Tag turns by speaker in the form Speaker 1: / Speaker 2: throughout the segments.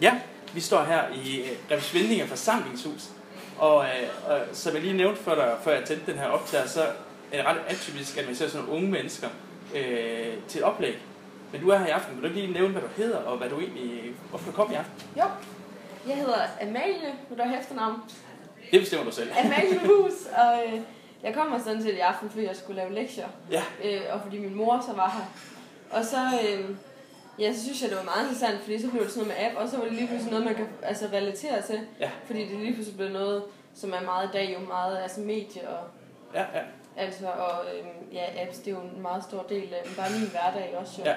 Speaker 1: Ja, vi står her i øh, Revsvindinger forsamlingshus, og, øh, og som jeg lige nævnte før, der, før jeg tændte den her optager, så er det ret atypisk, at man ser sådan nogle unge mennesker øh, til et oplæg. Men du er her i aften. Vil du ikke lige nævne, hvad du hedder, og hvad du egentlig, hvorfor du kom i aften?
Speaker 2: Jo, jeg hedder Amalie, nu der er efternavn.
Speaker 1: Det bestemmer du selv.
Speaker 2: Amalie Hus, og øh, jeg kommer sådan set i aften, fordi jeg skulle lave lektier.
Speaker 1: Ja.
Speaker 2: Øh, og fordi min mor så var her. Og så, øh, ja, så synes jeg, det var meget interessant, fordi så blev det sådan noget med app, og så var det lige pludselig noget, man kan altså, relatere til.
Speaker 1: Ja.
Speaker 2: Fordi det lige pludselig blev noget, som er meget i dag, jo meget altså medie og
Speaker 1: Ja, ja,
Speaker 2: Altså, og øhm, ja, apps, det er jo en meget stor del af bare min hverdag også, jo.
Speaker 1: ja.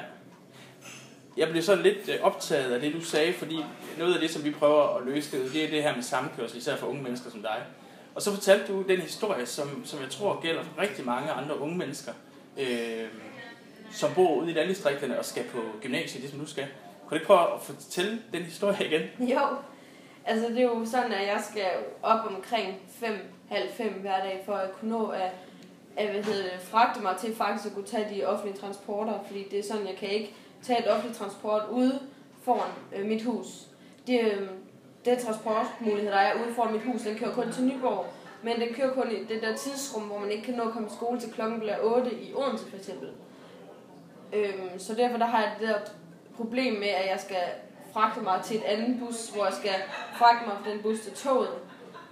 Speaker 1: Jeg blev sådan lidt øh, optaget af det, du sagde, fordi noget af det, som vi prøver at løse, det er det her med samkørsel, især for unge mennesker som dig. Og så fortalte du den historie, som, som jeg tror gælder for rigtig mange andre unge mennesker, øh, som bor ude i landdistrikterne og skal på gymnasiet, ligesom du skal. Kunne du ikke prøve at fortælle den historie igen?
Speaker 2: Jo, altså det er jo sådan, at jeg skal op omkring 5, halv 5 hver dag, for at kunne nå at, at hvad hedder det, fragte mig til faktisk at kunne tage de offentlige transporter, fordi det er sådan, jeg kan ikke tage et offentligt transport ude foran øh, mit hus. Det, øh, den transportmulighed, der er ude foran mit hus, den kører kun til Nyborg, men den kører kun i det der tidsrum, hvor man ikke kan nå at komme i skole til klokken bliver 8 i Odense for eksempel. Øhm, så derfor der har jeg det der problem med, at jeg skal fragte mig til et andet bus, hvor jeg skal fragte mig fra den bus til toget,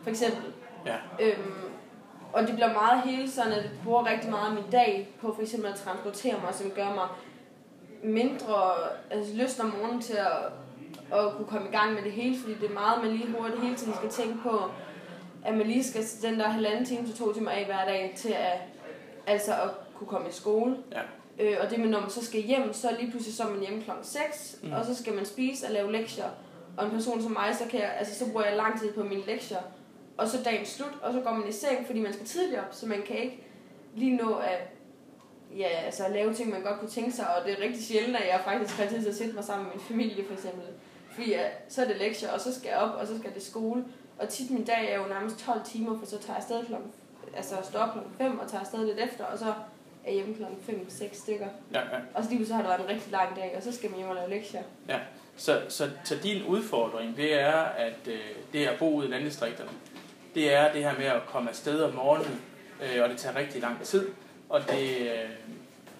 Speaker 2: for eksempel.
Speaker 1: Ja,
Speaker 2: Øhm, og det bliver meget hele sådan, at jeg bruger rigtig meget af min dag på for eksempel at transportere mig, som gør mig mindre altså, lyst om morgenen til at, at kunne komme i gang med det hele, fordi det er meget, man lige hurtigt hele tiden skal tænke på, at man lige skal sætte den der halvanden time til to timer af hver dag til at, altså at kunne komme i skole.
Speaker 1: ja,
Speaker 2: Øh, og det med, når man så skal hjem, så lige pludselig så er man hjemme kl. 6,
Speaker 1: Mm.
Speaker 2: mm. og så skal man spise og lave lektier. Og en person som mig, så, kan jeg, altså, så bruger jeg lang tid på mine lektier. Og så dagen slut, og så går man i seng, fordi man skal tidligere op, så man kan ikke lige nå at ja, altså, at lave ting, man godt kunne tænke sig. Og det er rigtig sjældent, at jeg faktisk har tid til at sætte mig sammen med min familie, for eksempel. Fordi ja, så er det lektier, og så skal jeg op, og så skal det skole. Og tit min dag er jo nærmest 12 timer, for så tager jeg afsted klokken, altså står op klokken 5 og tager afsted lidt efter, og så er hjemme klokken 5-6 stykker.
Speaker 1: ja, ja.
Speaker 2: Og så lige så har det været en rigtig lang dag, og så skal man hjem og lave lektier.
Speaker 1: Så, så, så din udfordring, det er, at øh, det er at bo ude i landdistrikterne. Det er det her med at komme afsted om morgenen, øh, og det tager rigtig lang tid, og det, øh,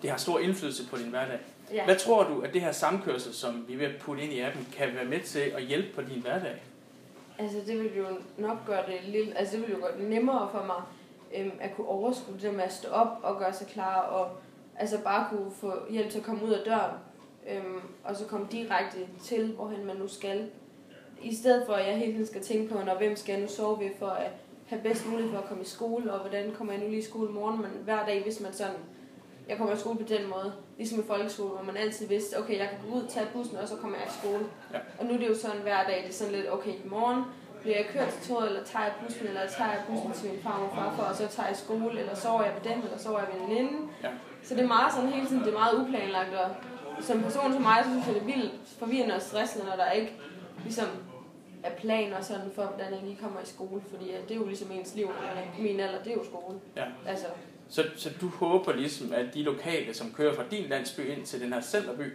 Speaker 1: det har stor indflydelse på din hverdag.
Speaker 2: Ja.
Speaker 1: Hvad tror du, at det her samkørsel, som vi er ved at putte ind i appen, kan være med til at hjælpe på din hverdag?
Speaker 2: Altså det ville jo nok gøre det lidt, altså det ville jo gøre det nemmere for mig øhm, at kunne overskue det der med at stå op og gøre sig klar og altså bare kunne få hjælp til at komme ud af døren øhm, og så komme direkte til, hvorhen man nu skal. I stedet for at jeg hele tiden skal tænke på, når hvem skal jeg nu sove ved for at have bedst mulighed for at komme i skole, og hvordan kommer jeg nu lige i skole i morgen, men hver dag hvis man sådan, jeg kommer i skole på den måde, ligesom i folkeskole, hvor man altid vidste, okay, jeg kan gå ud, tage bussen, og så kommer jeg i skole.
Speaker 1: Ja.
Speaker 2: Og nu er det jo sådan hver dag, det er sådan lidt, okay, i morgen bliver jeg kørt til toget, eller tager jeg bussen, eller tager jeg bussen til min far og far, for, og så tager jeg i skole, eller sover jeg ved dem, eller sover jeg ved en veninde.
Speaker 1: Ja.
Speaker 2: Så det er meget sådan hele tiden, det er meget uplanlagt, og som person som mig, så synes jeg, det er vildt forvirrende og stressende, når der ikke ligesom er planer sådan for, hvordan jeg lige kommer i skole, fordi at det er jo ligesom ens liv, eller min alder, det er jo skole.
Speaker 1: Ja.
Speaker 2: Altså,
Speaker 1: Så, så du håber ligesom, at de lokale, som kører fra din landsby ind til den her centerby,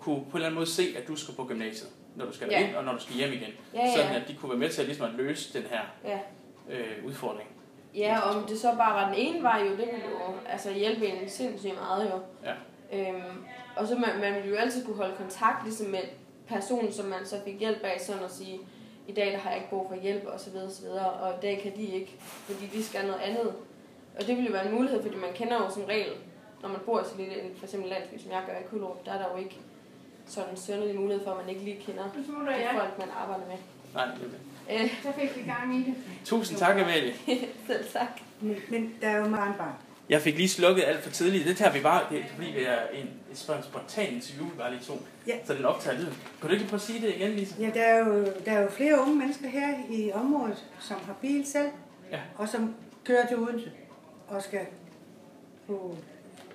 Speaker 1: kunne på en eller anden måde se, at du skal på gymnasiet, når du skal
Speaker 2: Ja.
Speaker 1: ind og når du skal hjem igen.
Speaker 2: ja, ja.
Speaker 1: Sådan at de kunne være med til at, ligesom at løse den her
Speaker 2: Ja.
Speaker 1: øh, udfordring.
Speaker 2: Ja, om det så bare var den ene vej, jo, det ville jo altså, hjælpe en sindssygt meget, jo.
Speaker 1: Ja.
Speaker 2: Øhm, og så man, man ville jo altid kunne holde kontakt ligesom med personen, som man så fik hjælp af, sådan at sige, i dag der har jeg ikke brug for hjælp, og så videre, og så videre, og i dag kan de ikke, fordi de skal noget andet. Og det ville jo være en mulighed, fordi man kender jo som regel, når man bor i sådan lidt en for eksempel landsby, som jeg gør i Kullerup, der er der jo ikke sådan en sønderlig mulighed for, at man ikke lige kender
Speaker 3: Nu smutter
Speaker 2: de
Speaker 3: jeg.
Speaker 2: folk, man arbejder med.
Speaker 1: Nej, det er det.
Speaker 2: Øh,
Speaker 3: Så fik vi gang i det.
Speaker 1: Tusind tak, Amalie.
Speaker 2: selv tak.
Speaker 4: Men, men der er jo meget barn.
Speaker 1: Jeg fik lige slukket alt for tidligt. Det tager vi bare, det, fordi vi er en, et sp- spontan interview, vi bare lige to.
Speaker 4: Ja.
Speaker 1: Så den optager lyden. Kan du ikke lige prøve at sige det igen, Lisa?
Speaker 4: Ja, der er, jo, der er jo flere unge mennesker her i området, som har bil selv,
Speaker 1: Ja.
Speaker 4: og som kører til Odense og skal på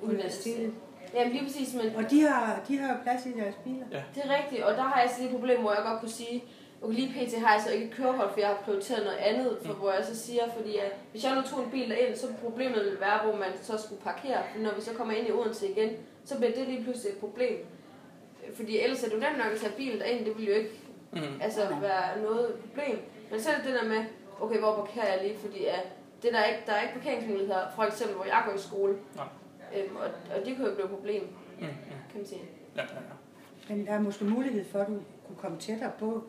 Speaker 2: Universitetet.
Speaker 4: universitetet.
Speaker 2: Jamen lige præcis, men
Speaker 4: Og de har, de har jo plads i deres biler.
Speaker 2: Det er rigtigt, og der har jeg sådan et problem, hvor jeg godt kunne sige, okay, lige pt. har jeg så ikke et kørehold, for jeg har prioriteret noget andet,
Speaker 1: Mm.
Speaker 2: for hvor jeg så siger, fordi at hvis jeg nu tog en bil derind, så problemet ville være, hvor man så skulle parkere, for når vi så kommer ind i Odense igen, så bliver det lige pludselig et problem. Fordi ellers er det jo nemt nok at tage bilen derind, det ville jo ikke
Speaker 1: Mm.
Speaker 2: altså være noget problem. Men så er det det der med, okay, hvor parkerer jeg lige, fordi uh, det der, er ikke, der er ikke parkeringsmuligheder, for eksempel hvor jeg går i skole.
Speaker 1: Nej.
Speaker 2: Øhm, og, og det kunne jo blive et problem,
Speaker 1: Mm. Mm.
Speaker 2: kan man sige.
Speaker 1: Ja, ja, ja.
Speaker 4: Men der er måske mulighed for, at du kunne komme tættere på.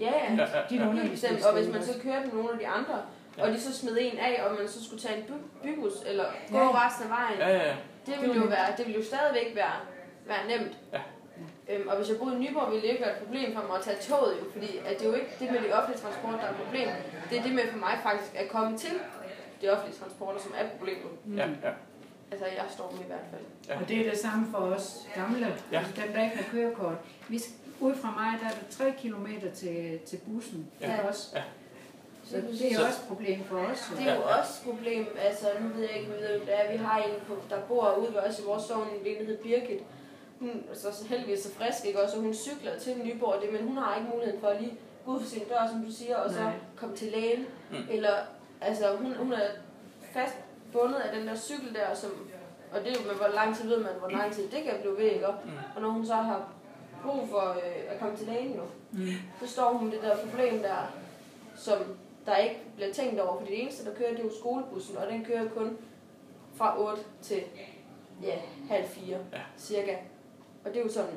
Speaker 2: Ja, ja.
Speaker 1: Ja, ja,
Speaker 4: Din
Speaker 1: ja.
Speaker 2: Helt bestemt, og hvis man så
Speaker 4: også.
Speaker 2: kørte med nogle af de andre,
Speaker 1: Ja.
Speaker 2: og de så smed en af, og man så skulle tage en by- bybus, eller gå
Speaker 4: Ja.
Speaker 2: resten af vejen,
Speaker 1: ja, ja, ja.
Speaker 2: det ville jo, være, det ville jo stadigvæk være, være nemt.
Speaker 1: Ja.
Speaker 2: Øhm, og hvis jeg boede i Nyborg, ville det ikke være et problem for mig at tage toget, jo, fordi at det er jo ikke det med de offentlige transport, der er et problem. Det er det med for mig faktisk at komme til de offentlige transporter, som er problemet.
Speaker 3: Mm.
Speaker 1: ja, ja.
Speaker 2: Altså, jeg står med i hvert fald.
Speaker 1: Ja.
Speaker 3: Og det er det samme for os gamle,
Speaker 1: Ja.
Speaker 3: ja. altså dem, der ikke har kørekort. Vi, sk- ud fra mig, der er der 3 km til, til bussen
Speaker 2: Ja.
Speaker 3: ja. for os.
Speaker 1: Ja.
Speaker 3: Så det
Speaker 1: Så-
Speaker 3: er også et problem for os. jo.
Speaker 2: Det er jo også et problem, altså nu ved jeg ikke, hvem det er, vi har en, på, der bor ude ved os i vores sogn, en der hedder Birgit. Hun er så så heldigvis så frisk, ikke også, og hun cykler til Nyborg, det, men hun har ikke muligheden for at lige gå ud for sin dør, som du siger, og så
Speaker 3: Nej.
Speaker 2: komme til lægen.
Speaker 1: Mm.
Speaker 2: Eller, altså hun, hun er fast bundet af den der cykel der, som, og det er jo med, hvor lang tid ved man, hvor lang tid det kan blive ved, ikke? Og,
Speaker 1: Mm.
Speaker 2: og når hun så har brug for øh, at komme til lægen nu,
Speaker 3: Mm.
Speaker 2: så står hun med det der problem der, som der ikke bliver tænkt over, fordi det eneste, der kører, det er jo skolebussen, og den kører kun fra 8 til ja, halv 4
Speaker 1: Ja.
Speaker 2: cirka. Og det er jo sådan,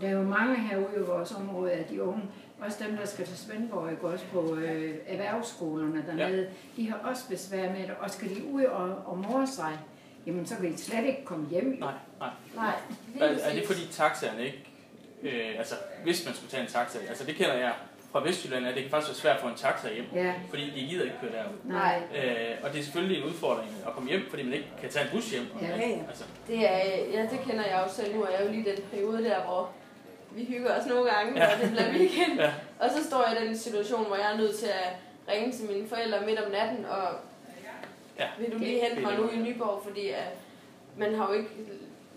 Speaker 3: Der er jo mange herude i vores område af de unge, også dem, der skal til Svendborg, ikke? også på øh, erhvervsskolerne dernede, ja. de har også besvær med det, og skal de ud og, og more sig, jamen så kan de slet ikke komme hjem.
Speaker 1: Nej, nej.
Speaker 2: nej,
Speaker 1: Er, er det fordi taxaerne ikke... Øh, altså, hvis man skulle tage en taxa... Altså, det kender jeg fra Vestjylland, at det kan faktisk være svært at få en taxa hjem.
Speaker 3: Ja,
Speaker 1: Fordi de gider ikke køre derud.
Speaker 3: nej.
Speaker 2: Nej,
Speaker 1: Øh, og det er selvfølgelig en udfordring at komme hjem, fordi man ikke kan tage en bus hjem.
Speaker 3: Ja,
Speaker 4: ja.
Speaker 1: Altså,
Speaker 2: det er, øh, ja, det kender jeg jo selv nu, og jeg er jo lige i den periode der, hvor vi hygger os nogle gange,
Speaker 1: Ja.
Speaker 2: ja. og det bliver weekend.
Speaker 1: Ja.
Speaker 2: Ja. Og så står jeg i den situation, hvor jeg er nødt til at ringe til mine forældre midt om natten, og
Speaker 1: Ja.
Speaker 2: vil du lige hente
Speaker 1: Det-
Speaker 2: mig
Speaker 1: det-
Speaker 2: nu i Nyborg, fordi at man har jo ikke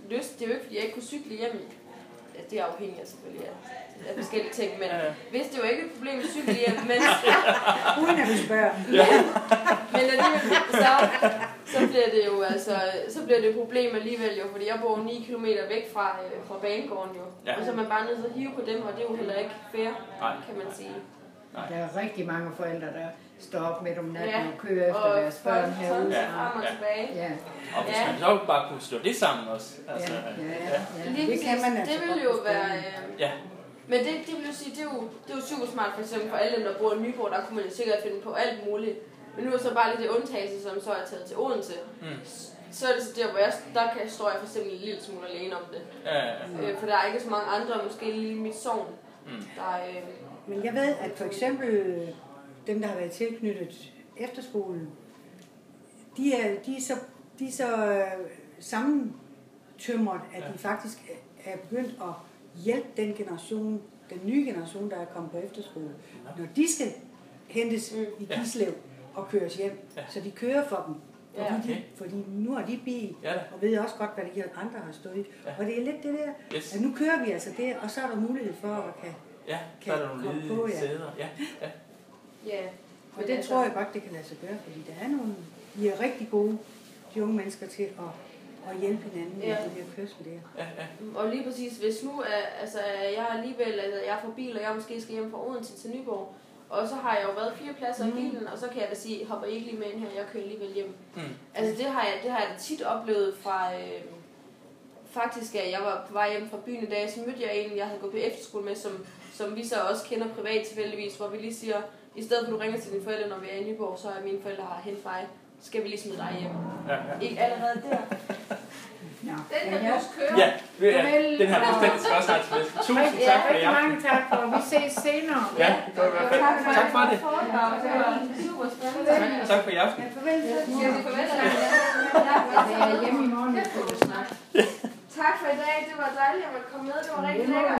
Speaker 2: lyst, det er jo ikke, fordi jeg ikke kunne cykle hjem. Ja, det er afhængigt af selvfølgelig af, af forskellige ting, men
Speaker 1: Ja, ja.
Speaker 2: hvis det jo ikke er et problem at cykle hjem, men,
Speaker 4: Uden at du spørger.
Speaker 2: men alligevel, så, så bliver det jo altså, så bliver det et problem alligevel jo, fordi jeg bor 9 km væk fra, øh, fra banegården jo,
Speaker 1: Ja.
Speaker 2: og så er man bare nødt til at hive på dem, og det er jo heller ikke fair,
Speaker 1: Nej.
Speaker 2: kan man sige.
Speaker 1: Nej.
Speaker 3: Der er rigtig mange forældre, der står op midt om natten
Speaker 2: Ja,
Speaker 3: og kører efter
Speaker 2: og
Speaker 3: deres børn
Speaker 2: folk sådan
Speaker 3: herude.
Speaker 2: sig
Speaker 1: Ja.
Speaker 2: frem og
Speaker 1: Ja.
Speaker 2: tilbage.
Speaker 3: Ja,
Speaker 1: og hvis
Speaker 2: Ja.
Speaker 1: man så bare kunne slå det sammen også. Altså,
Speaker 3: ja,
Speaker 1: øh,
Speaker 3: ja, ja.
Speaker 2: Lige
Speaker 4: Det kan
Speaker 2: præcis.
Speaker 4: man altså
Speaker 2: det
Speaker 4: godt
Speaker 2: vil jo
Speaker 4: forstå.
Speaker 2: være... Øh,
Speaker 1: Ja.
Speaker 2: Men det, det vil jo sige, det er jo, det er jo super smart for eksempel for alle dem, der bor i Nyborg, der kunne man jo sikkert finde på alt muligt. Men nu er så bare lige det undtagelse, som så er taget til Odense.
Speaker 1: Mm.
Speaker 2: Så er det så der, hvor jeg, der kan, står jeg for eksempel en lille smule alene om det.
Speaker 1: Ja.
Speaker 2: Øh, for der er ikke så mange andre, måske lige i mit sogn,
Speaker 1: Mm.
Speaker 2: der øh,
Speaker 4: Men jeg ved, at for eksempel øh, dem, der har været tilknyttet efterskolen, de er, de er så, de er så øh, sammentømret, at
Speaker 1: Ja.
Speaker 4: de faktisk er- er begyndt at hjælpe den generation, den nye generation, der er kommet på efterskole, når de skal hentes i
Speaker 1: Ja.
Speaker 4: Gislev og køres hjem.
Speaker 1: Ja.
Speaker 4: Så de kører for dem.
Speaker 2: Ja.
Speaker 4: Fordi, de,
Speaker 1: Okay.
Speaker 4: fordi nu har de bil,
Speaker 1: Ja da.
Speaker 4: og ved også godt, hvad de andre har stået i.
Speaker 1: Ja.
Speaker 4: Og det er lidt det der,
Speaker 1: Yes.
Speaker 4: at nu kører vi altså det, og så er der mulighed for at kan
Speaker 1: Ja, så
Speaker 4: Kan
Speaker 1: er der nogle
Speaker 4: komme på,
Speaker 1: ledige
Speaker 4: ja.
Speaker 1: sæder. Ja, ja.
Speaker 2: ja. altså,
Speaker 4: Og det tror jeg godt, det kan lade sig gøre, fordi der er nogle, de er rigtig gode, de unge mennesker, til at, at hjælpe hinanden med
Speaker 2: Ja.
Speaker 4: ja. det her kørsel der.
Speaker 2: Og lige præcis, hvis nu er, altså, er jeg alligevel altså, jeg er fra bil, og jeg måske skal hjem fra Odense til Nyborg, og så har jeg jo været fire pladser i bilen, og så kan jeg da sige, hopper I ikke lige med ind her, jeg kører alligevel hjem.
Speaker 1: Mm.
Speaker 2: Altså det har jeg, det har jeg da tit oplevet fra, øh, faktisk at jeg var på vej hjem fra byen i dag, så mødte jeg en, jeg havde gået på efterskole med, som, som vi så også kender privat tilfældigvis, hvor vi lige siger, i stedet for at du ringer til dine forældre, når vi er i Nyborg, så er mine forældre her hentet mig, skal vi lige smide dig hjem.
Speaker 1: Ja, ja.
Speaker 2: Ikke allerede der.
Speaker 3: Nå,
Speaker 2: Den
Speaker 3: men
Speaker 2: kan
Speaker 3: jeg-
Speaker 2: du køre.
Speaker 1: Ja, ved jeg,
Speaker 3: Farvel.
Speaker 1: den her bestemt også snart til. Tusind
Speaker 3: Rigtig,
Speaker 1: tak for i
Speaker 3: rigtig
Speaker 1: aften.
Speaker 3: mange tak for, vi ses senere.
Speaker 1: Ja, det var i hvert fald.
Speaker 2: Tak for,
Speaker 1: Tak for det.
Speaker 2: det var super spændende.
Speaker 1: Tak, tak for i aften.
Speaker 4: Men farvel, så.
Speaker 2: Skal vi forvente dig?
Speaker 3: Jeg er hjemme i morgen, hvis du vil snakke.
Speaker 2: Tak for i dag, det var dejligt at komme med, det var rigtig lækkert.